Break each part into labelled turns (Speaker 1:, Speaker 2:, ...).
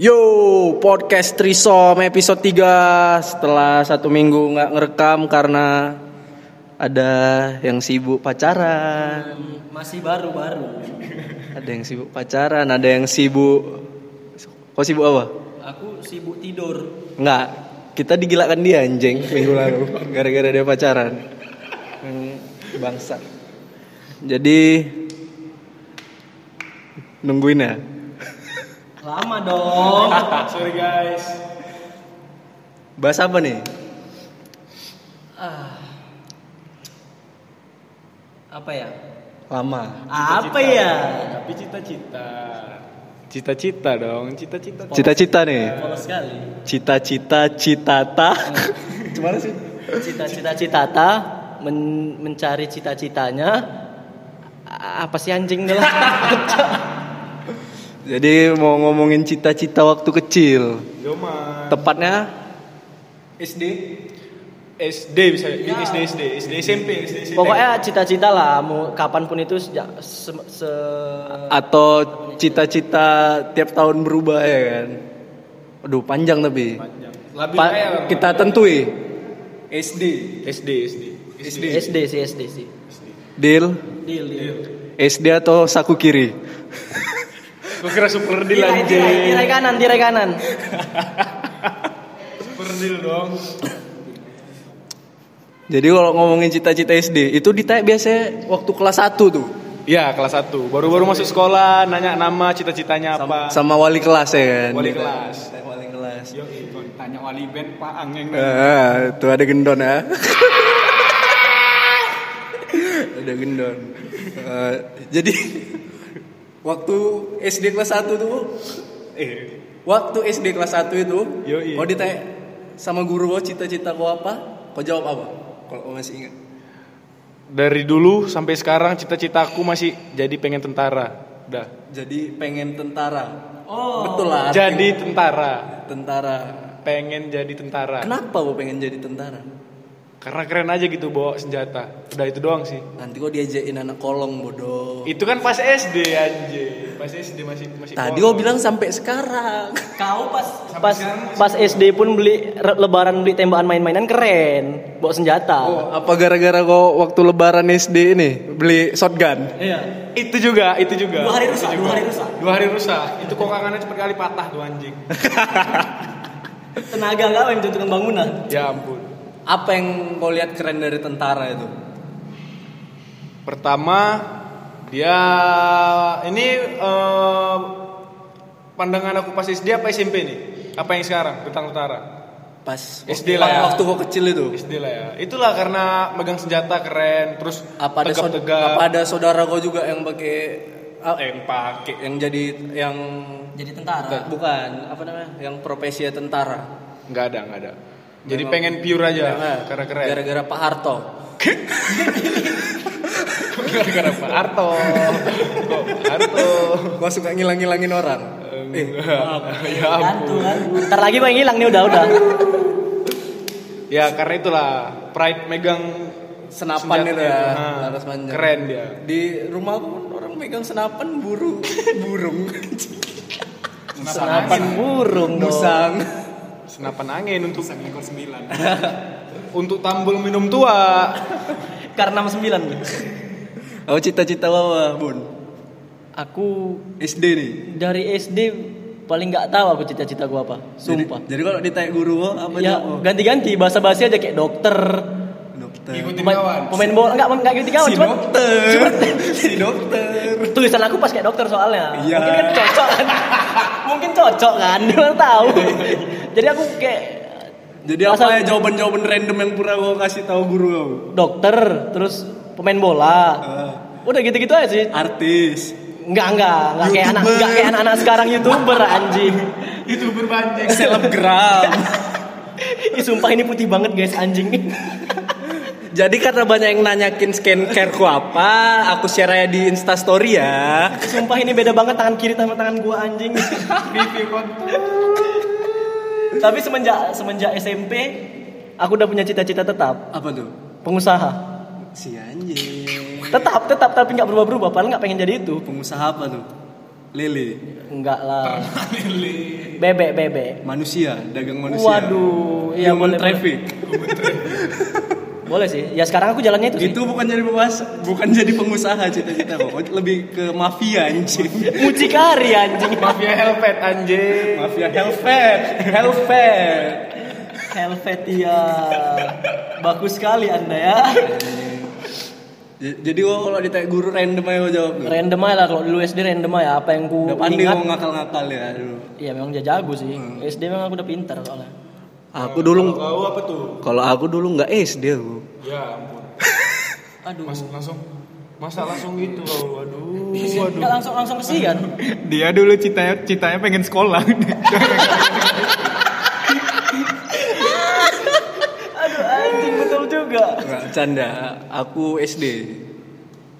Speaker 1: Yo, podcast Trisom episode 3 Setelah satu minggu nggak ngerekam karena ada yang sibuk pacaran
Speaker 2: Masih baru-baru.
Speaker 1: Ada yang sibuk pacaran, ada yang sibuk Kok sibuk apa?
Speaker 2: Aku sibuk tidur.
Speaker 1: Nggak, kita digilakan dia anjing minggu lalu Gara-gara dia pacaran Hmm, Bangsa Jadi Nungguin ya
Speaker 2: Lama dong.
Speaker 3: Sorry guys.
Speaker 1: Bahas apa nih?
Speaker 2: Ah. Apa ya?
Speaker 1: Lama
Speaker 2: Apa ya?
Speaker 3: Tapi cita-cita. Cita-cita dong, cita-cita.
Speaker 1: Cita-cita nih
Speaker 2: Polos sekali.
Speaker 1: cita-cita citata gimana sih
Speaker 2: Cita-cita citata men- mencari cita-citanya A- apa sih anjing dah lah.
Speaker 1: jadi mau ngomongin cita-cita waktu kecil
Speaker 3: Joman.
Speaker 1: tepatnya
Speaker 3: SD. SD bisa ya. SD SD SD SMP SD SMP.
Speaker 2: Pokoknya cita-cita lah, mau kapanpun itu sejak se- se-
Speaker 1: atau cita-cita tiap tahun berubah ya kan aduh panjang tapi
Speaker 3: Lebih
Speaker 1: Pa-
Speaker 3: kayak apa?
Speaker 1: kita tentui
Speaker 3: SD. SD SD SD.
Speaker 2: SD sih SD sih.
Speaker 1: deal
Speaker 2: Deal, deal.
Speaker 1: SD atau saku kiri
Speaker 3: Gue kira super deal
Speaker 2: Tirai, tirai, tirai
Speaker 3: anjing.
Speaker 2: kanan, tirai kanan.
Speaker 3: Super deal dong.
Speaker 1: jadi kalau ngomongin cita-cita SD itu ditanya biasanya waktu kelas 1 tuh
Speaker 3: Iya, kelas 1. Baru-baru masuk sekolah, nanya nama, cita-citanya apa.
Speaker 1: sama wali kelas ya kan
Speaker 3: Wali kelas. Eh,
Speaker 1: wali kelas
Speaker 3: Yo, eh, itu tanya wali band Pak Angeng.
Speaker 1: Ah, tuh ada gendon ya. ada gendon. Eh, jadi waktu SD kelas 1 tuh,
Speaker 3: Eh,
Speaker 1: waktu SD kelas 1 itu,
Speaker 3: Yoi.
Speaker 1: kau ditanya sama guru kau cita-cita kau apa? Kau jawab apa? Kalau kau masih ingat.
Speaker 3: dari dulu sampai sekarang cita-citaku masih jadi pengen tentara. Dah.
Speaker 1: Jadi pengen tentara. Oh. Betul lah. arti
Speaker 3: Jadi tentara.
Speaker 1: tentara.
Speaker 3: pengen jadi tentara
Speaker 1: Kenapa kau pengen jadi tentara?
Speaker 3: karena keren aja gitu bawa senjata udah itu doang sih
Speaker 1: Nanti kau diajakin anak kolong bodoh.
Speaker 3: itu kan pas SD anjir pas SD masih masih
Speaker 1: Tadi kau
Speaker 3: kolong.
Speaker 1: bilang sampai sekarang.
Speaker 2: Kau pas pas pas SD pun beli re- lebaran beli tembakan main-mainan keren, bawa senjata.
Speaker 1: Oh, apa gara-gara kok waktu lebaran SD ini beli shotgun?
Speaker 2: Iya.
Speaker 3: itu juga itu juga
Speaker 2: Dua hari rusak, dua hari rusak.
Speaker 3: dua hari rusak itu kokangannya cepet kali patah tuh anjing
Speaker 2: Tenaga kau yang untuk bangunan.
Speaker 3: ya ampun
Speaker 1: Apa yang kau lihat keren dari tentara itu?
Speaker 3: pertama dia ini eh, pandangan aku pas SD apa SMP nih apa yang sekarang tentang tentara
Speaker 1: Pas
Speaker 3: SD lah ya.
Speaker 1: waktu kau kecil itu.
Speaker 3: SD lah ya itulah karena megang senjata keren terus
Speaker 1: Apa ada saud-
Speaker 3: tegap-tegap
Speaker 1: apa ada saudara kau juga yang pakai ah, eh, yang pakai yang jadi yang
Speaker 2: Jadi tentara.
Speaker 1: bukan apa namanya? Yang profesi tentara. ah,
Speaker 3: Nggak ada, nggak ada. Jadi pengen pure aja, karena Ya, keren.
Speaker 1: Gara-gara Pak Harto.
Speaker 3: Gara-gara Pak Harto. Kok Pak Harto.
Speaker 1: Gua suka ngilang-ngilangin orang.
Speaker 3: ya ampun.
Speaker 2: Hantu kan. Ntar lagi bang hilang nih udah udah.
Speaker 3: Ya karena itulah pride megang
Speaker 1: Senapan
Speaker 3: senjata
Speaker 1: itu ya,
Speaker 3: Nah,
Speaker 1: laras panjang.
Speaker 3: Keren dia.
Speaker 1: Di rumah pun orang megang senapan buru burung
Speaker 2: Senapan burung dong.
Speaker 1: musang.
Speaker 3: Senapan angin untuk ekor sembilan. untuk tambul minum tua.
Speaker 2: Karena 69 gitu.
Speaker 1: Oh cita-cita apa bun?
Speaker 2: Aku
Speaker 1: SD nih.
Speaker 2: dari SD paling nggak tahu aku cita-cita gua apa. Sumpah.
Speaker 1: Jadi, oh. jadi kalau ditanya guru lo apa
Speaker 2: ya
Speaker 1: jawab?
Speaker 2: ganti-ganti bahasa-bahasa aja kayak dokter,
Speaker 1: Dokter.
Speaker 3: Ikutin
Speaker 2: pemain, pemain bola enggak enggak ganti kawan
Speaker 1: Si
Speaker 2: cuman
Speaker 1: dokter. si dokter.
Speaker 2: tulisan aku pas kayak dokter soalnya
Speaker 1: Iya.
Speaker 2: mungkin kan cocok kan mungkin cocok kan Dia tahu jadi aku kayak
Speaker 1: Jadi
Speaker 2: Masa-
Speaker 1: apa ya jawaban-jawaban random yang pura gue kasih tahu guru lo?
Speaker 2: dokter terus pemain bola udah gitu-gitu aja sih
Speaker 1: Ah, Artis.
Speaker 2: nggak nggak nggak kayak anak
Speaker 1: Youtuber.
Speaker 2: nggak kayak anak-anak sekarang youtuber anjing
Speaker 3: Itu berbanjing.
Speaker 1: Selebgram.
Speaker 2: Ih, sumpah ini putih banget guys anjing
Speaker 1: Jadi karena banyak yang nanyakin skincare ku apa, aku share aja di Instastory ya.
Speaker 2: sumpah ini beda banget tangan kiri sama tangan gua anjing
Speaker 3: Review konten.
Speaker 2: tapi semenjak semenjak SMP aku udah punya cita-cita tetap
Speaker 1: Apa tuh?
Speaker 2: pengusaha
Speaker 1: Si anjing.
Speaker 2: tetap tetap tapi nggak berubah-berubah padahal nggak pengen jadi itu
Speaker 1: Pengusaha apa tuh? Lele,
Speaker 2: Enggak lah.
Speaker 3: Lele.
Speaker 2: Bebek, bebek.
Speaker 1: manusia, dagang manusia.
Speaker 2: Waduh, iya
Speaker 1: Human
Speaker 2: boleh, boleh.
Speaker 1: traffic.
Speaker 2: Boleh sih. Ya sekarang aku jalannya itu sih.
Speaker 1: Itu bukan jadi pembahas, bukan jadi pengusaha cita-cita kok. Lebih ke mafia anjing.
Speaker 2: Mucikari anjing.
Speaker 3: Mafia Helvet anjing.
Speaker 1: mafia helvet, helvet.
Speaker 2: Helvetia. iya. Bagus sekali Anda ya.
Speaker 1: J- Jadi gua kalau ditanya guru random aja gua jawab. Gak
Speaker 2: Random aja lah kalau dulu SD random aja apa yang ku
Speaker 1: Udah pandai
Speaker 2: ingat.
Speaker 1: ngomong ngakal-ngakal ya dulu.
Speaker 2: Iya memang dia jago sih. SD memang aku udah pinter soalnya.
Speaker 4: Aku dulu
Speaker 3: Tahu apa tuh?
Speaker 4: kalau aku dulu nggak SD aku.
Speaker 3: Ya ampun.
Speaker 2: Aduh.
Speaker 3: Mas langsung masa langsung gitu kau. Aduh.
Speaker 2: Nggak langsung langsung bersih kan?
Speaker 5: Dia dulu citanya citanya pengen sekolah.
Speaker 2: Aduh anjing betul juga.
Speaker 1: Enggak canda, aku SD.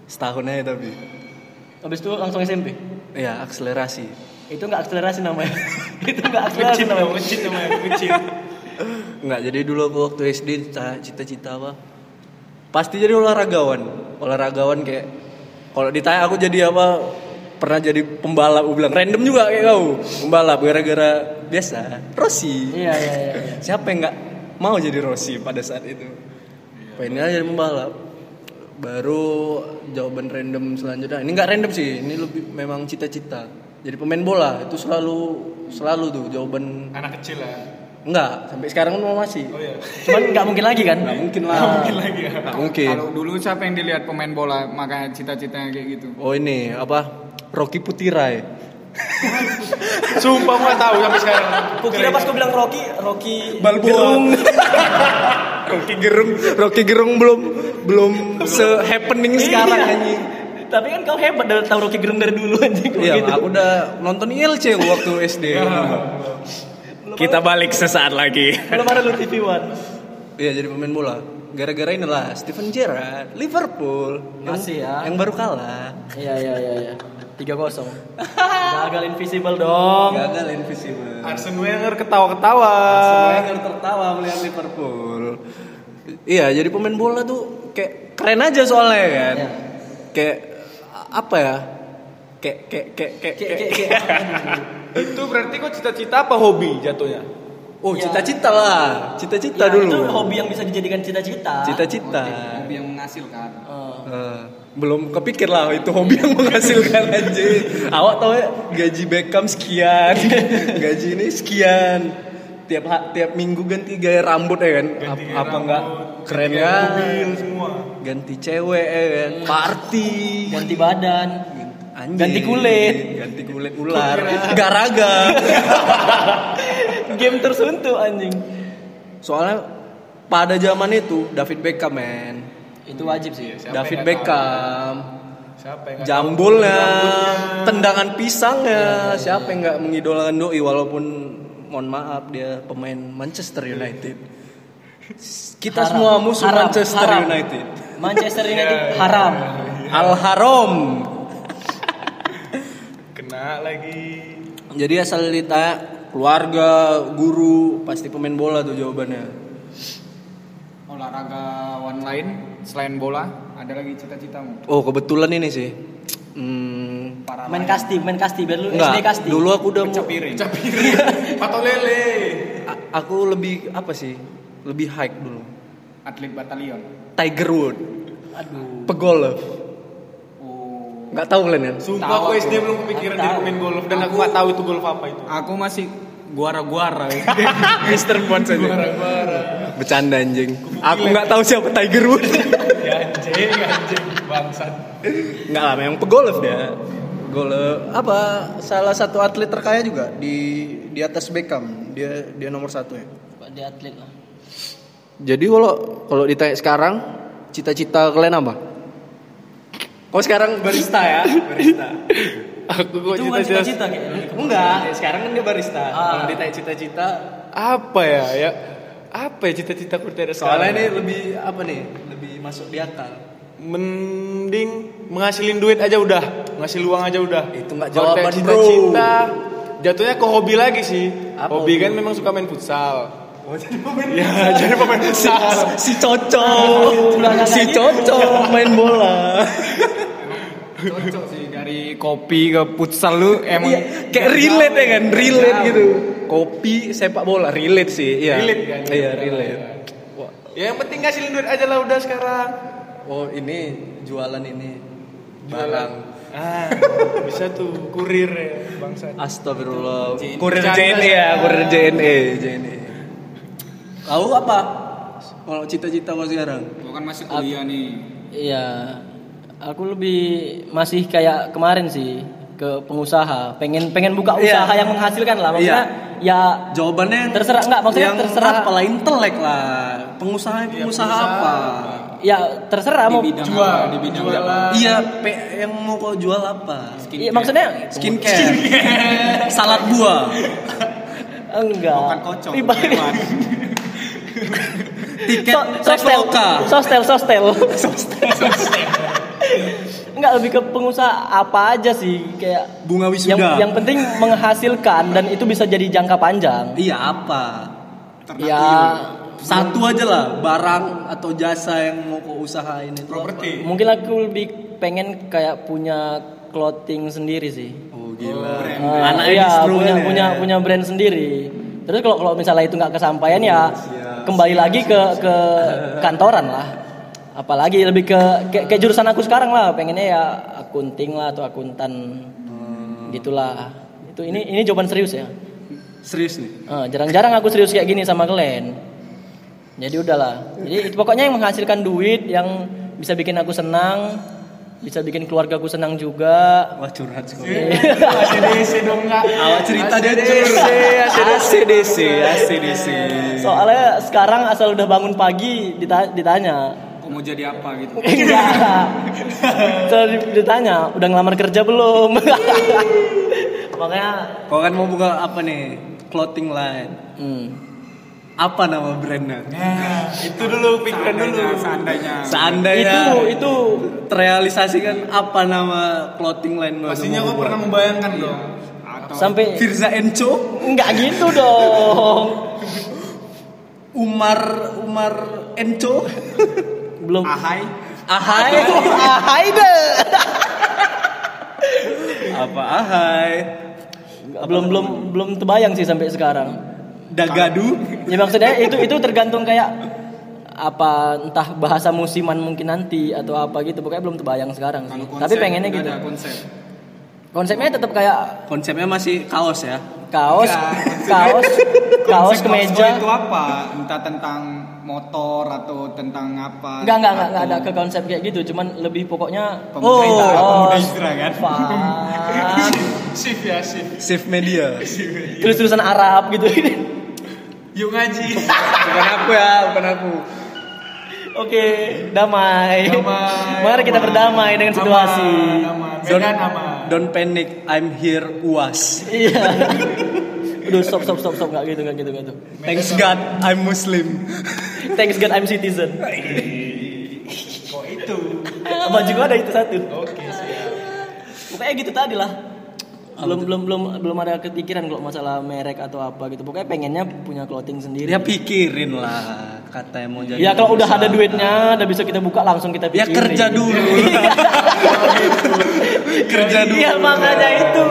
Speaker 1: Setahun aja tapi.
Speaker 2: Habis itu langsung SMP.
Speaker 1: Ya, akselerasi.
Speaker 2: Itu nggak akselerasi namanya. itu nggak akselerasi namanya.
Speaker 3: Ngecit namanya, ngecit.
Speaker 1: Enggak, jadi dulu aku waktu SD cita- cita-cita apa? Pasti jadi olahragawan. Olahragawan kayak kalau ditanya aku jadi apa? Pernah jadi pembalap, aku bilang random juga kayak kau. Pembalap gara-gara biasa, Rossi.
Speaker 2: Iya iya iya. iya.
Speaker 1: Siapa yang nggak mau jadi Rossi pada saat itu? Pengennya jadi pembalap. Baru jawaban random selanjutnya. Ini nggak random sih, ini lebih memang cita-cita. Jadi pemain bola itu selalu selalu tuh jawaban
Speaker 3: Anak kecil ya.
Speaker 1: enggak sampai sekarang kan masih.
Speaker 3: Oh iya.
Speaker 2: Cuman nggak mungkin lagi kan?
Speaker 1: Nggak mungkin lah. mungkin lagi ya.
Speaker 3: Iya.
Speaker 1: mungkin.
Speaker 5: Kalau dulu siapa yang dilihat pemain bola makanya cita-citanya kayak gitu.
Speaker 1: Oh ini apa? Rocky Putirai.
Speaker 3: Sumpah gua tahu sampai sekarang.
Speaker 2: Aku kira pas aku bilang Rocky, Rocky
Speaker 1: Gerung. Rocky Gerung. Rocky Gerung belum belum se happening sekarang
Speaker 2: Iya.
Speaker 1: anjing.
Speaker 2: Tapi kan kau hebat dari tahu Rocky Gerung dari dulu anjing. Gitu.
Speaker 1: Iya, aku udah nonton ILC waktu SD. Iya. Kita balik sesaat lagi.
Speaker 2: Belum ada lu TV One.
Speaker 1: Iya, jadi pemain bola. Gara-gara inilah Steven Gerrard, Liverpool.
Speaker 2: Masih ya.
Speaker 1: Yang baru kalah.
Speaker 2: Iya iya iya iya. Tiga kosong. Gagal invisible dong.
Speaker 1: Gagal invisible.
Speaker 3: Arsene Wenger ketawa-ketawa.
Speaker 1: Wenger tertawa melihat Liverpool. Iya, jadi pemain bola tuh kayak keren aja soalnya kan.
Speaker 2: Iya.
Speaker 1: Kayak apa ya? Kayak kayak kayak kayak,
Speaker 2: Kayak-
Speaker 1: kayak-
Speaker 2: kayak-
Speaker 3: Itu berarti kok cita-cita apa hobi jatuhnya?
Speaker 1: Oh,
Speaker 2: Iya.
Speaker 1: cita-cita lah. Cita-cita
Speaker 2: Ya,
Speaker 1: dulu.
Speaker 2: Itu hobi yang bisa dijadikan cita-cita.
Speaker 1: Cita-cita.
Speaker 5: Hobi yang menghasilkan.
Speaker 2: Eh,
Speaker 1: Eh, belum kepikir lah itu hobi yang menghasilkan aja. Awak tahu ya, gaji Beckham sekian, gaji ini sekian. Tiap ha- tiap minggu ganti gaya rambut ya kan. Ap- apa enggak keren ya?
Speaker 3: Mobil semua.
Speaker 1: ganti cewek ya kan party
Speaker 2: ganti badan.
Speaker 1: Anjing.
Speaker 2: Hmm. Ganti kulit.
Speaker 1: ganti kulit ular garaga
Speaker 2: Game tersuntuk anjing.
Speaker 1: soalnya pada zaman itu David Beckham men
Speaker 2: Itu wajib sih.
Speaker 1: David
Speaker 2: ya?
Speaker 1: Beckham
Speaker 3: Siapa yang nggak
Speaker 1: jambulnya tendangan
Speaker 2: Iya,
Speaker 1: pisangnya siapa yang nggak mengidolakan doi walaupun mohon maaf dia pemain Manchester United kita
Speaker 2: Haram.
Speaker 1: semua musuh
Speaker 2: Haram.
Speaker 1: Manchester
Speaker 2: Haram.
Speaker 1: United
Speaker 2: Manchester United haram.
Speaker 1: Al Haram
Speaker 3: kena lagi?
Speaker 1: Jadi asal ditanya keluarga, guru, pasti pemain bola tuh jawabannya.
Speaker 5: Olahragawan lain selain bola ada lagi cita-citamu?
Speaker 1: Oh kebetulan ini sih. Hmm,
Speaker 5: Para
Speaker 2: Main kasti, main kasti. Biar lu SD
Speaker 1: enggak,
Speaker 2: kasti.
Speaker 1: dulu aku udah
Speaker 2: ya?
Speaker 1: mau,
Speaker 5: piring.
Speaker 3: Pato lele.
Speaker 1: a- aku lebih apa sih? Lebih hike dulu.
Speaker 5: Atlet batalion.
Speaker 1: Tiger Wood,
Speaker 2: Aduh.
Speaker 1: pegolf.
Speaker 5: Oh.
Speaker 1: Nggak tahu kalian ya?
Speaker 3: Sumpah
Speaker 5: Tahu
Speaker 3: aku
Speaker 5: aku.
Speaker 3: SD belum kepikiran
Speaker 2: Tahu.
Speaker 3: dia main golf dan aku nggak tahu itu golf apa itu.
Speaker 5: Aku masih guara-guara.
Speaker 3: Ah!
Speaker 1: Mister Bond saja. Bercanda anjing. Aku nggak tahu siapa Tiger Wood.
Speaker 3: Ya anjing, anjing bangsat.
Speaker 1: Nggak lah, memang pegolf dia. Golf apa? Salah satu atlet terkaya juga di di atas Beckham. Dia dia nomor satu ya.
Speaker 2: Dia atlet lah.
Speaker 4: Jadi kalau kalau ditanya sekarang cita-cita kalian apa?
Speaker 1: Kau Oh, sekarang barista ya? Barista.
Speaker 3: Aku kok
Speaker 2: Itu bukan
Speaker 3: cita-cita
Speaker 2: cita-cita kayaknya.
Speaker 1: Enggak, sekarang kan dia barista.
Speaker 2: Ah.
Speaker 1: Kalau ditanya cita-cita,
Speaker 3: apa ya ya apa ya cita-citaku dari
Speaker 1: soalnya
Speaker 3: sekarang?
Speaker 1: ini lebih apa nih? Lebih masuk di akal.
Speaker 3: mending menghasilin duit aja udah ngasih uang aja udah
Speaker 1: Itu nggak
Speaker 3: Kalau
Speaker 1: jawaban,
Speaker 3: kayak cita-cita jatuhnya ke hobi lagi sih
Speaker 1: Apa
Speaker 3: hobi
Speaker 1: hobi?
Speaker 3: kan memang suka main futsal
Speaker 1: Oh, jadi pemain
Speaker 3: ya jadi pemain futsal
Speaker 1: si Coco, si Coco main bola.
Speaker 5: Cocok sih dari kopi ke futsal lu emang
Speaker 1: Kayak relate ya kan, relate gitu. Kopi, sepak bola, relate sih. Iya.
Speaker 3: Relate kan?
Speaker 1: Iya, relate.
Speaker 3: Ya yang penting ngasilin duit aja lah udah sekarang.
Speaker 1: Oh, ini jualan ini barang.
Speaker 3: Ah, bisa tuh kurir ya bangsa.
Speaker 1: Astagfirullah.
Speaker 2: E.
Speaker 5: JNE.
Speaker 1: Kurir
Speaker 5: Bercanda
Speaker 1: JNE
Speaker 5: sih.
Speaker 1: ya, kurir JNE, JNE. Kau apa? Kalau cita-cita kau sekarang?
Speaker 5: gua kan masih kuliah nih.
Speaker 2: Iya. Aku lebih masih kayak kemarin sih ke pengusaha. Pengen pengen buka
Speaker 1: Iya.
Speaker 2: usaha yang menghasilkan lah maksudnya.
Speaker 5: Iya.
Speaker 2: Ya
Speaker 1: Jawabannya yang-
Speaker 2: Terserah, enggak, maksudnya
Speaker 1: yang
Speaker 2: terserah. Iya,
Speaker 1: Apalah intelek lah. Pengusaha pengusaha apa?
Speaker 2: ya terserah
Speaker 5: Di
Speaker 2: mau
Speaker 5: bidang
Speaker 3: jual,
Speaker 5: apa? Di bidang apa?
Speaker 1: Iya, P- yang mau kau jual apa?
Speaker 2: Iya, maksudnya
Speaker 1: Skincare. Salad buah.
Speaker 2: enggak.
Speaker 5: bukan kocok,
Speaker 2: Riba-
Speaker 5: hewan.
Speaker 1: Tiket
Speaker 2: So- sostel,
Speaker 1: Traveloka.
Speaker 2: sostel, sostel, Enggak lebih ke pengusaha apa aja sih kayak
Speaker 1: Bunga wisuda.
Speaker 2: yang yang penting menghasilkan dan itu bisa jadi jangka panjang.
Speaker 1: Iya, apa?
Speaker 5: Ternak
Speaker 2: Ya
Speaker 1: Satu aja lah, barang atau jasa yang mau kau usahain itu.
Speaker 3: Properti.
Speaker 5: Iya.
Speaker 2: mungkin aku lebih pengen kayak punya clothing sendiri sih.
Speaker 1: apa? Oh, gila.
Speaker 2: Eh,
Speaker 1: Anaknya
Speaker 2: iya,
Speaker 1: distro
Speaker 2: punya
Speaker 1: kan ya?
Speaker 2: punya punya brand sendiri. Terus kalau kalau misalnya itu nggak kesampaian ya kembali lagi ke ke kantoran lah. Apalagi lebih ke, ke ke jurusan aku sekarang lah. Pengennya ya akunting lah atau akuntan gitulah. Itu ini ini jawaban serius ya.
Speaker 1: Serius nih.
Speaker 2: Eh, jarang-jarang aku serius kayak gini sama kalian. Jadi udahlah. Jadi itu pokoknya yang menghasilkan duit yang bisa bikin aku senang, bisa bikin keluarga aku senang juga.
Speaker 1: Wah, curhat sih.
Speaker 3: Iya, ACDC dong enggak.
Speaker 1: Awak cerita dia
Speaker 3: ACDC,
Speaker 1: curhat. ACDC, ACDC.
Speaker 2: Soalnya sekarang asal udah bangun pagi dita- ditanya.
Speaker 5: Kok mau jadi apa gitu?
Speaker 2: Enggak. Asal di- ditanya, udah ngelamar kerja belum? Makanya
Speaker 1: Kau kan mau buka apa nih? Clothing line.
Speaker 2: hmm.
Speaker 1: Apa nama brandnya?
Speaker 5: Nah,
Speaker 3: Itu dulu pikiran dulu.
Speaker 5: Seandainya, seandainya.
Speaker 1: Seandainya
Speaker 2: itu itu
Speaker 1: terrealisasikan apa nama clothing line lo?
Speaker 3: Pastinya kau pernah membayangkan dong.
Speaker 5: Atau
Speaker 2: sampai
Speaker 1: Firza Enco,
Speaker 2: enggak gitu dong.
Speaker 1: Umar Umar Enco, Ah,
Speaker 2: Belum.
Speaker 5: ahai.
Speaker 1: Ahai,
Speaker 2: Hai, hai deh.
Speaker 1: apa Ahai,
Speaker 2: Belum belum belum terbayang sih sampai sekarang.
Speaker 1: Dagadu,
Speaker 2: Ya maksudnya itu itu tergantung kayak apa entah bahasa musiman mungkin nanti atau apa gitu pokoknya belum terbayang sekarang sih.
Speaker 5: Kalau konsep,
Speaker 2: Tapi pengennya
Speaker 5: udah
Speaker 2: gitu.
Speaker 5: Ada konsep.
Speaker 2: Konsepnya tetap kayak
Speaker 1: konsepnya masih kaos ya.
Speaker 2: kaos
Speaker 5: Enggak.
Speaker 2: kaos kaos
Speaker 5: Konsep
Speaker 2: kemeja
Speaker 5: itu apa? Entah tentang motor atau tentang apa?
Speaker 2: enggak enggak enggak enggak ada ke
Speaker 5: Atau
Speaker 2: konsep kayak gitu cuman lebih pokoknya
Speaker 5: Pemerintah,
Speaker 2: Oh,
Speaker 5: pemuda
Speaker 2: oh,
Speaker 5: hijrah kan?
Speaker 2: Fuck.
Speaker 3: Shift ya, shift.
Speaker 1: Safe media.
Speaker 2: terus terusan Arab gitu
Speaker 3: Yuk ngaji.
Speaker 1: bukan aku ya, bukan aku.
Speaker 2: oke damai.
Speaker 3: Damai,
Speaker 2: mari kita
Speaker 3: aman.
Speaker 2: berdamai dengan situasi
Speaker 3: Aman, aman. Medan aman.
Speaker 1: Don't panic, I'm here uas.
Speaker 2: iya Aduh, stop stop stop stop nggak gitu nggak gitu nggak gitu
Speaker 1: Thanks God, I'm Muslim.
Speaker 2: thanks God I'm citizen
Speaker 3: Kok itu?
Speaker 2: baju gua ada itu satu
Speaker 3: Oke, siap.
Speaker 2: pokoknya gitu tadi lah belum belum belum belum ada kepikiran kalau masalah merek atau apa gitu pokoknya pengennya punya clothing sendiri
Speaker 1: Dia pikirin lah kata yang mau jadi.
Speaker 2: Ya kalau udah
Speaker 1: pengusaha.
Speaker 2: ada duitnya, udah bisa kita buka langsung kita
Speaker 1: Ya
Speaker 2: bikin.
Speaker 1: kerja dulu. kerja dulu.
Speaker 2: Iya makanya itu.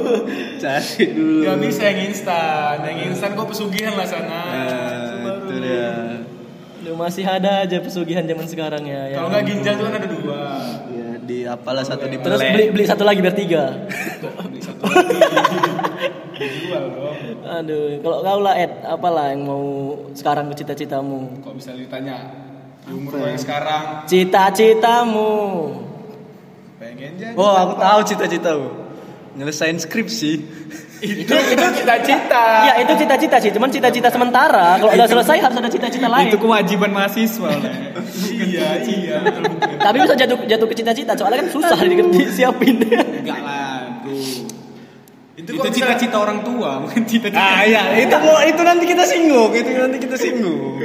Speaker 1: Cari dulu.
Speaker 5: Iya.
Speaker 3: Gak bisa yang instan. Yang instan kok pesugihan lah sana.
Speaker 5: Iya.
Speaker 1: Nah, itu dia.
Speaker 2: Duh, masih ada aja pesugihan zaman sekarang ya. ya.
Speaker 3: Kalau nggak ginjal tuh kan ada dua.
Speaker 1: Ya, di apalah satu di
Speaker 2: Terus beli beli satu lagi biar tiga.
Speaker 3: Dijual dong.
Speaker 2: Aduh, kalau kau lah Ed, apalah yang mau sekarang cita-citamu? ya?
Speaker 3: Kok bisa ditanya? Di umur gua yang sekarang
Speaker 2: Cita-citamu.
Speaker 3: pengen jadi.
Speaker 1: Oh, aku tahu cita-cita lu. Nyelesain skripsi.
Speaker 3: Itu bukan cita-cita.
Speaker 2: Ya itu cita-cita sih, cuman cita-cita sementara. Kalau udah selesai harus ada cita-cita lain.
Speaker 5: Itu kewajiban mahasiswa. lah.
Speaker 3: Iya, iya. betul, betul.
Speaker 2: Tapi bisa jatuh jatuh ke cita-cita, soalnya kan susah di- disiapin.
Speaker 5: Enggak lah, bro.
Speaker 3: Itu
Speaker 5: Itu,
Speaker 3: kok bisa-
Speaker 5: cita-cita orang tua, bukan cita-cita.
Speaker 1: Ah, iya, itu mau itu nanti kita singgung, itu nanti kita singgung.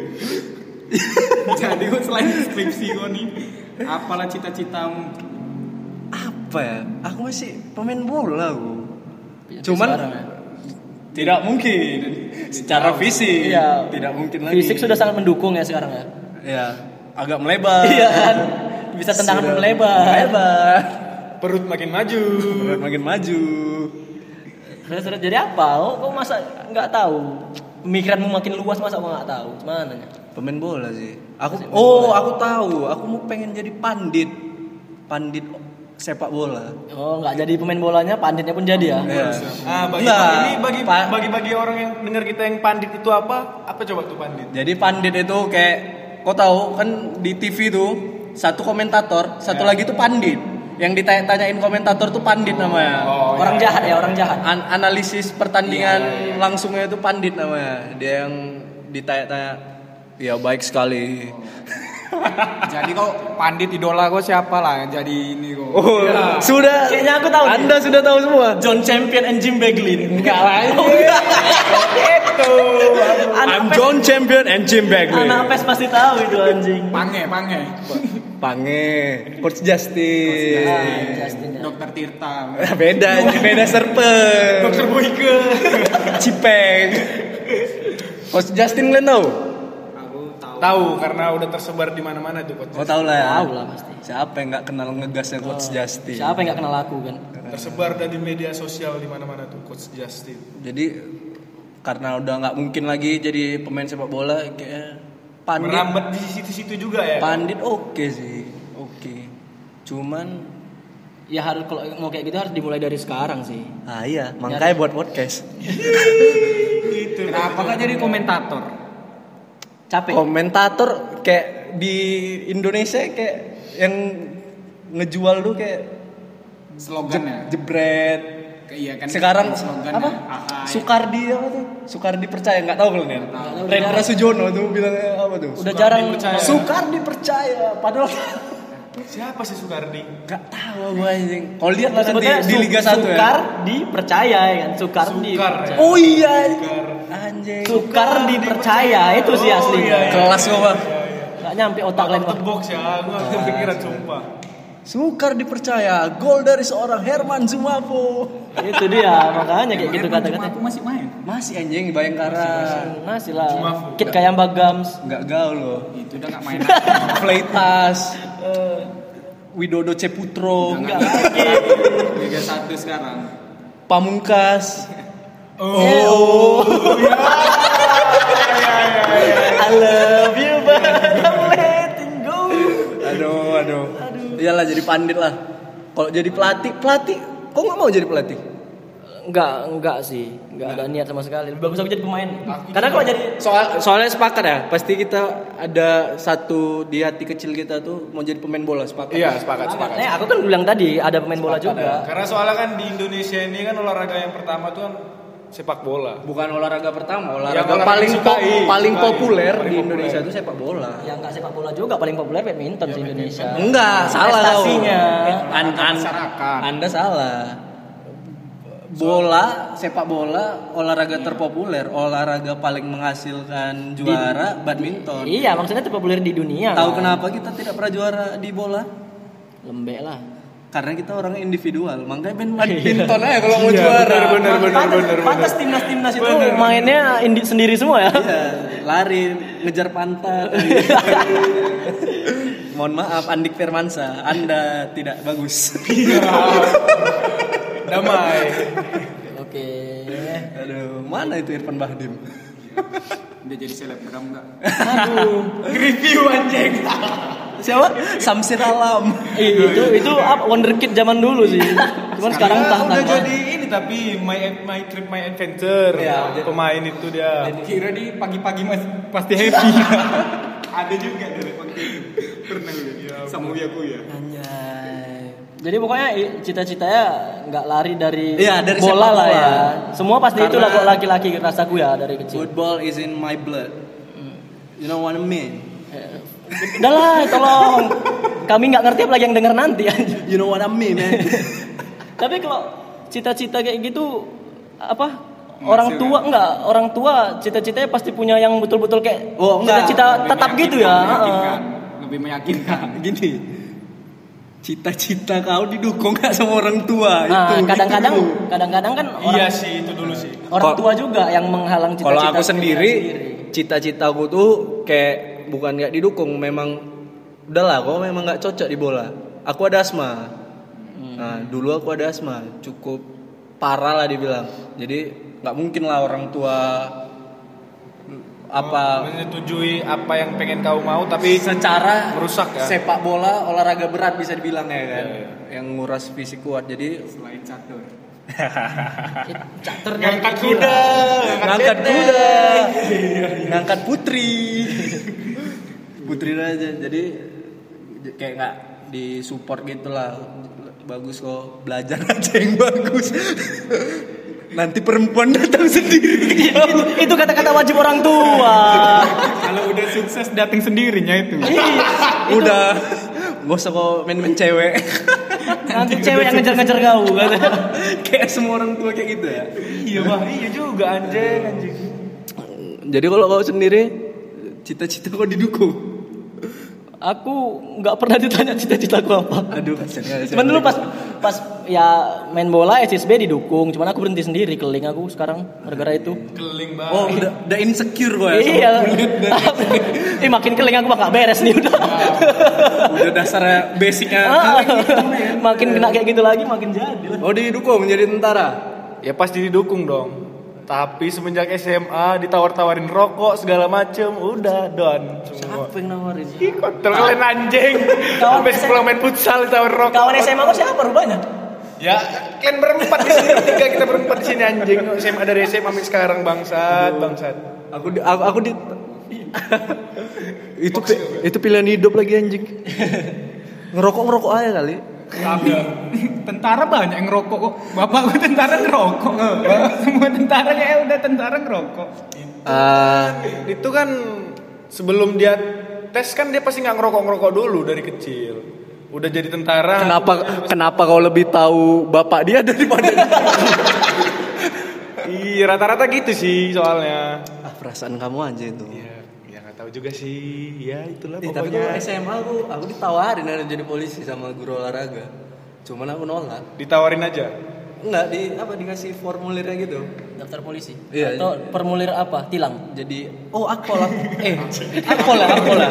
Speaker 5: Jadi gue selain skripsi gue nih, apalah cita-citamu?
Speaker 1: Apa ya? Aku masih pemain bola gua. Cuman tidak mungkin secara fisik.
Speaker 2: Iya.
Speaker 1: Tidak mungkin lagi.
Speaker 2: Fisik sudah sangat mendukung ya sekarang ya.
Speaker 1: ya agak melebar.
Speaker 2: Iya kan? Bisa tendangan
Speaker 1: Sudah
Speaker 2: melebar.
Speaker 1: Melebar.
Speaker 3: perut makin maju.
Speaker 1: Bukan makin maju.
Speaker 2: Terus terus jadi apa? Oh, kok masa nggak tahu? Pemikiranmu makin luas masa kok nggak tahu? Mana?
Speaker 1: Pemain bola sih. Aku oh, aku tahu. Aku mau pengen jadi pandit. Pandit sepak bola.
Speaker 2: Oh, nggak jadi pemain bolanya, panditnya pun jadi ya.
Speaker 1: Iya.
Speaker 3: Ah, bagi
Speaker 1: Nggak,
Speaker 3: ini bagi
Speaker 1: Pak.
Speaker 3: bagi bagi orang yang dengar kita yang pandit itu apa? Apa coba tuh pandit?
Speaker 1: Jadi pandit itu kayak kau tahu kan di TV tuh satu komentator, satu lagi tuh pandit. Yang ditanya-tanyain komentator tuh pandit namanya.
Speaker 2: orang jahat ya, orang jahat.
Speaker 1: An- analisis pertandingan langsungnya itu pandit namanya. Dia yang ditanya-tanya, ya baik sekali.
Speaker 5: Jadi kau pandit idola kau siapa lah yang jadi ini kau.
Speaker 4: Oh, sudah.
Speaker 2: Kayaknya aku tahu nih.
Speaker 4: Anda sudah tahu semua.
Speaker 2: John Champion and Jim Beglin. Enggak lah. Gitu.
Speaker 1: I'm
Speaker 2: Anak pes,
Speaker 1: John Champion and Jim Bagley.
Speaker 2: anak pes pasti tahu itu anjing.
Speaker 5: Pange, Pange.
Speaker 1: Pange, Coach Justin.
Speaker 2: Nah, Justin. ya.
Speaker 5: Dokter Tirta.
Speaker 1: beda, beda serpeng.
Speaker 5: Dokter Boyke.
Speaker 1: Cipeng. Coach Justin kalian tahu?
Speaker 3: Tahu karena udah tersebar di mana-mana tuh coach.
Speaker 1: Oh tahu lah ya.
Speaker 2: Tahu lah pasti.
Speaker 1: Siapa yang nggak kenal ngegasnya Coach Justin?
Speaker 2: Siapa yang gak kenal aku kan?
Speaker 3: Tersebar dari media sosial di mana-mana tuh coach Justin.
Speaker 1: Jadi karena udah nggak mungkin lagi jadi pemain sepak bola kayak pandit.
Speaker 3: Merambat di situ-situ juga ya.
Speaker 1: Pandit oke sih, oke. Cuman
Speaker 2: Ya harus kalau mau kayak gitu harus dimulai dari sekarang sih.
Speaker 1: ah iya, makanya buat podcast.
Speaker 5: Kenapa nggak jadi komentator?
Speaker 2: Capek.
Speaker 1: Oh, Komentator kayak di Indonesia kayak yang ngejual tuh kayak
Speaker 5: Slogannya.
Speaker 1: jebret
Speaker 5: Ke- Iya kan.
Speaker 1: Sekarang
Speaker 5: slogannya. Ah, iya.
Speaker 1: apa?
Speaker 2: Nah,
Speaker 5: Ahai.
Speaker 2: iya.
Speaker 1: Sukardi apa tuh? Sukardi percaya nggak tahu kalian?
Speaker 2: tahu.
Speaker 1: Rendra Sujono tuh bilangnya apa tuh?
Speaker 2: Udah jarang.
Speaker 3: dipercaya.
Speaker 1: Sukardi percaya padahal
Speaker 3: Siapa sih Sukardi?
Speaker 1: nggak tahu gue anjing. Kalau lihat lah nanti
Speaker 2: Sebetulnya
Speaker 1: di
Speaker 2: Su-
Speaker 1: Liga 1 ya.
Speaker 2: Iya, Sukar dipercaya ya kan? Sukar,
Speaker 3: Sukar,
Speaker 2: dipercaya.
Speaker 1: Oh iya. Anjing. Iya,
Speaker 2: Sukar dipercaya itu sih asli.
Speaker 1: Kelas gua, Bang.
Speaker 2: Nggak nyampe otak lain.
Speaker 3: The box ya, gua nggak kepikiran sumpah.
Speaker 1: Sukar dipercaya. Gol dari seorang Herman Zumafo.
Speaker 2: itu dia makanya kayak gitu
Speaker 5: Emang cuma
Speaker 2: kata-kata.
Speaker 5: Aku masih main.
Speaker 1: Masih anjing Bayangkara.
Speaker 2: Masih lah.
Speaker 3: Cuma
Speaker 2: Kit kayak Bagams.
Speaker 1: Enggak gaul loh.
Speaker 5: Itu udah nggak main.
Speaker 1: Fleitas. eh, Widodo Ceputro.
Speaker 5: Nggak lagi. Liga 1 sekarang.
Speaker 1: Pamungkas.
Speaker 3: Oh.
Speaker 1: Eh, oh.
Speaker 3: Iya,
Speaker 2: I love you but I'm letting go.
Speaker 1: Aduh, aduh. Iyalah jadi pandit lah. Kalau jadi pelatih, pelatih kok nggak mau jadi pelatih?
Speaker 2: Enggak, enggak sih. Enggak ada niat sama sekali. Lebih bagus aku jadi pemain. Karena kalau jadi
Speaker 1: Soal soalnya sepakat ya, pasti kita ada satu di hati kecil kita tuh mau jadi pemain bola sepakat.
Speaker 3: Iya, sepakat, sepakat.
Speaker 2: Eh, aku kan bilang tadi ada pemain bola juga.
Speaker 3: Karena soalnya kan di Indonesia ini kan olahraga yang pertama tuh kan sepak bola.
Speaker 1: Bukan olahraga pertama, olahraga,
Speaker 3: Iya, olahraga
Speaker 1: paling
Speaker 3: disukai,
Speaker 1: po- paling
Speaker 3: disukai.
Speaker 1: populer
Speaker 3: Paling
Speaker 1: di
Speaker 3: populer.
Speaker 1: Indonesia itu sepak bola.
Speaker 2: Yang enggak sepak bola juga paling populer badminton di Indonesia.
Speaker 1: Enggak, salah kau.
Speaker 2: Prestasinya.
Speaker 1: An an
Speaker 5: Masyarakat.
Speaker 1: anda salah. Bola, sepak bola, olahraga terpopuler, olahraga paling menghasilkan juara badminton.
Speaker 2: Iya, maksudnya terpopuler di dunia.
Speaker 1: Tahu
Speaker 2: kan.
Speaker 1: kenapa kita tidak pernah juara di bola?
Speaker 2: Lembek lah.
Speaker 1: Karena kita orangnya individual. Makanya main Iya, badminton aja kalau mau juara.
Speaker 3: Bener, bener, bener, bener.
Speaker 2: Pantas timnas-timnas itu mainnya indi- sendiri semua ya.
Speaker 1: Iya, lari, ngejar pantat. Mohon maaf Andik Firmansyah, Anda tidak bagus.
Speaker 3: Damai.
Speaker 2: Oke.
Speaker 1: Aduh, mana itu Irfan Bahdim?
Speaker 5: Dia jadi selebgram nggak?
Speaker 1: Review anjing. Siapa? Samsir Alam.
Speaker 2: Ih, itu itu apa wonderkid zaman dulu sih. Cuman sekarang
Speaker 3: Dia
Speaker 2: entah
Speaker 3: Iya, udah
Speaker 2: kenapa.
Speaker 3: jadi ini tapi my my trip my adventure. Pemain itu dia.
Speaker 5: Kira di pagi-pagi mas pasti happy. Ada juga dari pagi. Pernah ya. Sama Uya ya.
Speaker 1: Anjay.
Speaker 2: Jadi pokoknya i- cita-citanya nggak lari dari,
Speaker 1: Iya, dari
Speaker 2: bola
Speaker 1: sepak
Speaker 2: lah
Speaker 1: bola.
Speaker 2: ya. Semua pasti
Speaker 1: Karena-
Speaker 2: itulah kok laki-laki rasaku ya dari kecil.
Speaker 1: Football is in my blood. You know what I mean?
Speaker 2: Udah lah, tolong. Kami nggak ngerti apalagi yang denger nanti. anjing.
Speaker 1: You know what I mean, man?
Speaker 2: Tapi kalau cita-cita kayak gitu apa?
Speaker 1: ya?
Speaker 2: Orang tua nggak, orang tua cita-citanya pasti punya yang betul-betul kayak
Speaker 1: Oh, enggak.
Speaker 2: cita-cita tetap gitu ya.
Speaker 5: Meyakinkan.
Speaker 3: kan?
Speaker 2: Heeh.
Speaker 5: Lebih meyakinkan.
Speaker 1: Gini. Cita-cita kau didukung gak sama orang tua
Speaker 2: Nah,
Speaker 1: itu.
Speaker 2: kadang-kadang
Speaker 1: itu.
Speaker 2: kadang-kadang kan orang,
Speaker 3: Iya sih itu dulu sih.
Speaker 2: orang
Speaker 1: Kalau-
Speaker 2: tua juga yang menghalang cita-cita.
Speaker 1: Kalau aku
Speaker 2: kita
Speaker 1: sendiri, cita-citaku tuh kayak bukan nggak didukung, memang udahlah, kau memang nggak cocok di bola. Aku ada asma. Nah, dulu aku ada asma, cukup parah lah dibilang. Jadi nggak mungkin lah orang tua
Speaker 3: Oh,
Speaker 1: apa
Speaker 3: menyetujui apa yang pengen kau mau tapi
Speaker 1: secara
Speaker 3: merusak ya? Iya,
Speaker 1: sepak bola olahraga berat bisa dibilang ya kan yang nguras fisik kuat jadi
Speaker 5: Selain catur.
Speaker 2: Catur
Speaker 3: ngangkat kuda
Speaker 1: ngangkat kuda ngangkat putri putri aja jadi j- kayak nggak disupport gitulah bagus kok belajar aja yang bagus nanti perempuan datang sendiri
Speaker 2: itu, itu kata-kata wajib orang tua.
Speaker 5: Kalau udah sukses datang sendirinya itu.
Speaker 2: Iya.
Speaker 1: udah gak usah kok main-main cewek
Speaker 2: Nanti cewek yang ngejar-ngejar kau kan? kata.
Speaker 1: kayak semua orang tua kayak gitu ya
Speaker 3: iya wah iya juga anjing anjing
Speaker 1: jadi kalau kau sendiri cita-cita kau didukung
Speaker 2: Aku nggak pernah ditanya cita-citaku apa.
Speaker 1: aduh kasihan kasihan.
Speaker 2: Cuman dulu pas pas ya main bola SSB didukung, cuman aku berhenti sendiri keling aku sekarang gara-gara itu.
Speaker 3: keling banget
Speaker 1: oh udah, udah insecure gue ya sama
Speaker 2: iya. Ih makin keling aku bakal beres nih udah.
Speaker 1: udah dasarnya basicnya
Speaker 3: gitu,
Speaker 2: makin kena kayak gitu lagi makin jadi. lah.
Speaker 1: oh didukung menjadi tentara
Speaker 3: ya pasti didukung dong tapi semenjak SMA ditawar-tawarin rokok segala macem udah don semua
Speaker 2: Apa yang nawarin?
Speaker 3: Ih, kontol kalian anjing
Speaker 2: Kawan
Speaker 3: habis
Speaker 2: SMA.
Speaker 3: pulang main futsal ditawarin rokok
Speaker 2: Kawan SMA kok siapa rupanya?
Speaker 3: ya kalian berempat di sini bertiga kita berempat di sini anjing SMA dari SMA sampai sekarang bangsat bangsat
Speaker 1: aku di- aku, aku di itu pi- itu pilihan hidup lagi anjing ngerokok ngerokok aja kali
Speaker 5: Tapi tentara banyak yang ngerokok kok. Bapakku tentara ngerokok. eh. Semua tentara kayak udah tentara ngerokok.
Speaker 1: Ah,
Speaker 3: itu kan sebelum dia tes kan dia pasti nggak ngerokok ngerokok dulu dari kecil udah jadi tentara
Speaker 1: kenapa kenapa kau lebih tahu bapak dia daripada
Speaker 3: iya rata-rata gitu sih soalnya
Speaker 1: ah, perasaan kamu aja itu
Speaker 3: ya ya nggak tahu juga sih ya itulah
Speaker 1: Eh, tapi
Speaker 3: pokoknya
Speaker 1: kalau SMA aku aku ditawarin harus jadi polisi sama guru olahraga cuman aku nolak
Speaker 3: ditawarin aja
Speaker 1: enggak di apa dikasih formulirnya gitu
Speaker 2: Daftar polisi.
Speaker 1: Iya.
Speaker 2: Atau permulir apa? Tilang.
Speaker 1: jadi oh akpol aku eh akpol lah akpol lah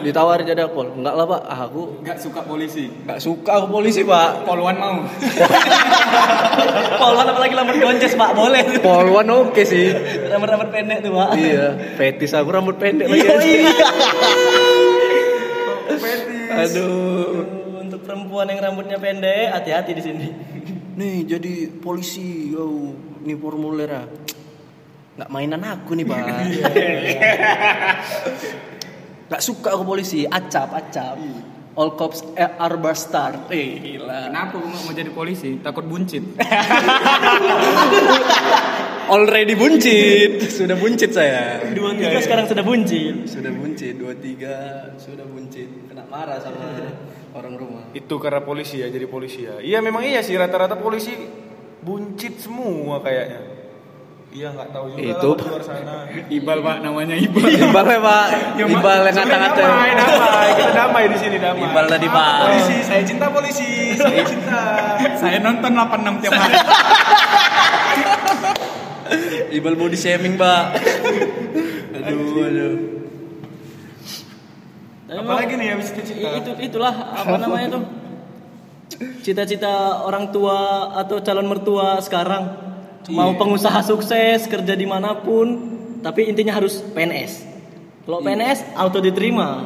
Speaker 1: ditawarin jadi akpol enggak lah pak ah, aku
Speaker 5: Gak suka polisi.
Speaker 1: enggak suka aku polisi pak
Speaker 5: Poluan mau.
Speaker 2: Polwan apalagi lambat gonjes pak boleh.
Speaker 1: polwan oke sih
Speaker 2: Rambut-rambut pendek tuh pak.
Speaker 1: iya fetis aku rambut pendek lagi
Speaker 2: Yoi.
Speaker 1: aduh
Speaker 2: Untuk perempuan yang rambutnya pendek, hati-hati di sini.
Speaker 1: nih jadi polisi yo nih formulirnya nggak mainan aku nih pak nggak suka aku polisi acap acap all cops eh, are bar star eh gila
Speaker 5: Kenapa kamu mau jadi polisi? Takut buncit.
Speaker 1: Already buncit, sudah buncit saya.
Speaker 2: Dua
Speaker 1: iya,
Speaker 2: tiga sekarang sudah buncit.
Speaker 1: Sudah buncit, dua tiga sudah buncit. Kena marah sama orang rumah.
Speaker 3: itu karena polisi ya jadi polisi ya iya memang iya sih rata-rata polisi buncit semua kayaknya iya nggak tahu juga
Speaker 1: Itu.
Speaker 3: lah di luar sana
Speaker 5: Iqbal pak namanya Iqbal.
Speaker 1: Iqbal ya pak, Iqbal yang ngata-ngata.
Speaker 3: damai damai kita damai di sini damai
Speaker 1: Iqbal tadi pak.
Speaker 3: polisi saya cinta polisi saya cinta
Speaker 5: Saya nonton 86 tiap hari.
Speaker 1: Iqbal body shaming pak. aduh, aduh.
Speaker 2: Tapi
Speaker 3: apalagi
Speaker 2: memang-
Speaker 3: nih habis cita-cita
Speaker 2: i- Itu itulah apa namanya tuh? Cita-cita orang tua atau calon mertua sekarang
Speaker 1: Iya.
Speaker 2: mau pengusaha sukses kerja dimanapun, tapi intinya harus PNS. Kalau PNS auto diterima.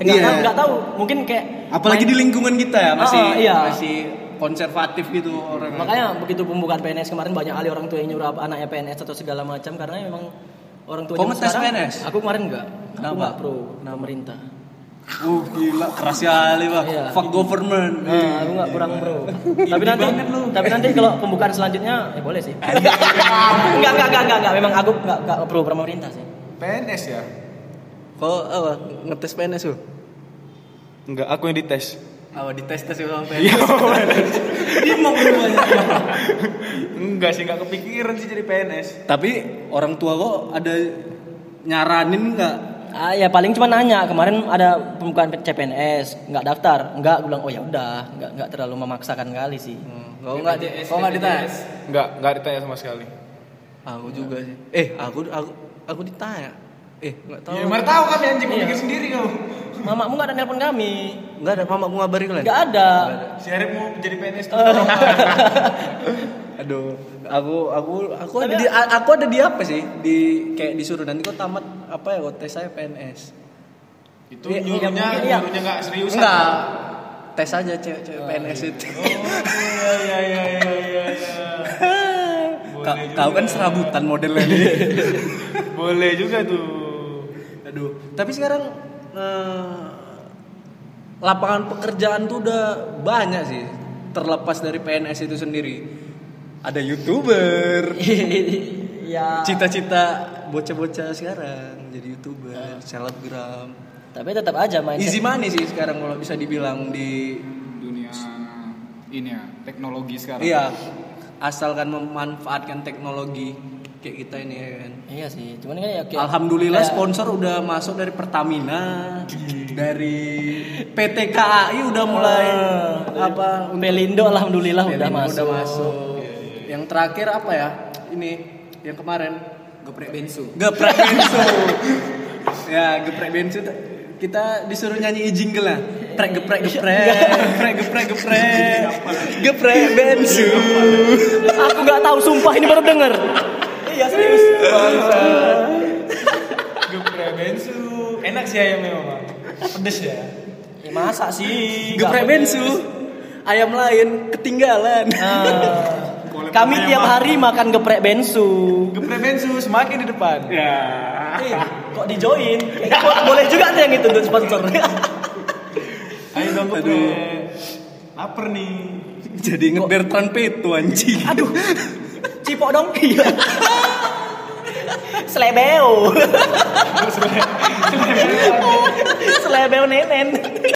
Speaker 2: Enggak
Speaker 1: Iya.
Speaker 2: tahu, nggak tahu. Mungkin kayak
Speaker 1: Apalagi di lingkungan kita ya masih
Speaker 2: Ah, iya.
Speaker 1: masih konservatif gitu orang.
Speaker 2: Makanya begitu pembukaan PNS kemarin banyak kali orang tua yang nyuruh apa anaknya PNS atau segala macam karena memang orang tua
Speaker 1: Kau
Speaker 2: zaman
Speaker 1: ngetes
Speaker 2: sekarang-
Speaker 1: PNS?
Speaker 2: Aku kemarin enggak.
Speaker 1: Kenapa?
Speaker 2: Aku enggak pro pemerintah.
Speaker 1: Uh gila keras sekali pak.
Speaker 2: Iya.
Speaker 1: Fuck government.
Speaker 2: Nah, aku enggak kurang pro. tapi nanti tapi nanti kalau pembukaan selanjutnya ya boleh sih. enggak, enggak, enggak, enggak, enggak. Memang aku enggak, enggak pro pemerintah sih.
Speaker 3: PNS ya
Speaker 1: Kau apa ngetes PNS tuh?
Speaker 3: Enggak, aku yang dites.
Speaker 1: Apa dites tes sama PNS? ya, Dia mau berubah.
Speaker 3: Enggak sih, enggak kepikiran sih jadi PNS.
Speaker 1: Tapi orang tua kok ada nyaranin nggak?
Speaker 2: Ah, ya paling cuma nanya kemarin ada pembukaan CPNS nggak daftar nggak aku bilang oh ya udah nggak nggak terlalu memaksakan kali sih
Speaker 1: Kau Hmm, nggak di, kau nggak ditanya?
Speaker 3: Enggak, enggak ditanya sama sekali.
Speaker 1: Aku juga sih. Eh, aku aku aku ditanya. Eh, nggak tahu.
Speaker 5: Iya,
Speaker 3: Ya, mana tahu kan anjing mikir sendiri kau.
Speaker 2: mamamu nggak ada nelpon kami
Speaker 1: Enggak ada mamaku ngabarin kalian.
Speaker 2: nggak ada
Speaker 3: Si Arif mau jadi PNS tuh.
Speaker 1: Aduh, aku aku aku ada
Speaker 2: Tapi-
Speaker 1: di a- aku ada di apa sih? Di kayak disuruh nanti kau tamat apa ya? Kau tes saya PNS.
Speaker 3: itu
Speaker 1: Iya, iya,
Speaker 3: nyuruhnya
Speaker 2: mungkin iya.
Speaker 3: nyuruhnya nggak serius.
Speaker 1: Enggak. Tes aja cewek-cewek
Speaker 2: Oh,
Speaker 1: PNS itu.
Speaker 3: Iya iya iya iya. iya, iya.
Speaker 1: Ka- kau kan serabutan modelnya nih.
Speaker 3: Boleh juga tuh.
Speaker 1: Aduh, tapi sekarang eh, lapangan pekerjaan tuh udah banyak sih. Terlepas dari PNS itu sendiri. Ada YouTuber.
Speaker 2: ya
Speaker 1: Cita-cita bocah-bocah sekarang jadi YouTuber, selebgram.
Speaker 2: tapi tetap aja main
Speaker 1: Easy money sih sekarang kalau bisa dibilang di
Speaker 5: dunia ini ya teknologi sekarang
Speaker 1: iya asalkan memanfaatkan teknologi kayak kita ini ya kan.
Speaker 2: iya sih cuman kan ya kayak-
Speaker 1: Alhamdulillah
Speaker 2: kayak-
Speaker 1: sponsor udah masuk dari Pertamina, dari PT KAI udah mulai apa
Speaker 2: Pelindo alhamdulillah udah
Speaker 1: Pelindo Udah
Speaker 2: masuk.
Speaker 1: masuk. Yang terakhir apa ya? Ini yang kemarin
Speaker 5: geprek bensu
Speaker 1: geprek bensu. ya geprek bensu tuh kita disuruh nyanyi jingle lah. Prek geprek geprek, geprek geprek geprek, geprek bensu.
Speaker 2: Aku nggak tahu sumpah ini baru denger. iya serius.
Speaker 3: Geprek bensu. Enak sih ayamnya memang. Pedes ya.
Speaker 2: Ya, masa sih?
Speaker 1: Geprek
Speaker 2: Nggak-
Speaker 1: bensu. Ayam lain ketinggalan.
Speaker 2: Eh, Ah. Kami tiap hari makan geprek bensu.
Speaker 3: Geprek bensu semakin di depan.
Speaker 2: Eh, kok di join? boleh juga tuh yang itu untuk sponsor.
Speaker 3: Ayo dong geprek. Laper nih.
Speaker 1: Jadi ngeder trompet tuh anjing.
Speaker 2: Aduh. Cipok dong. Iya. Selebeo. Selebeo nenen.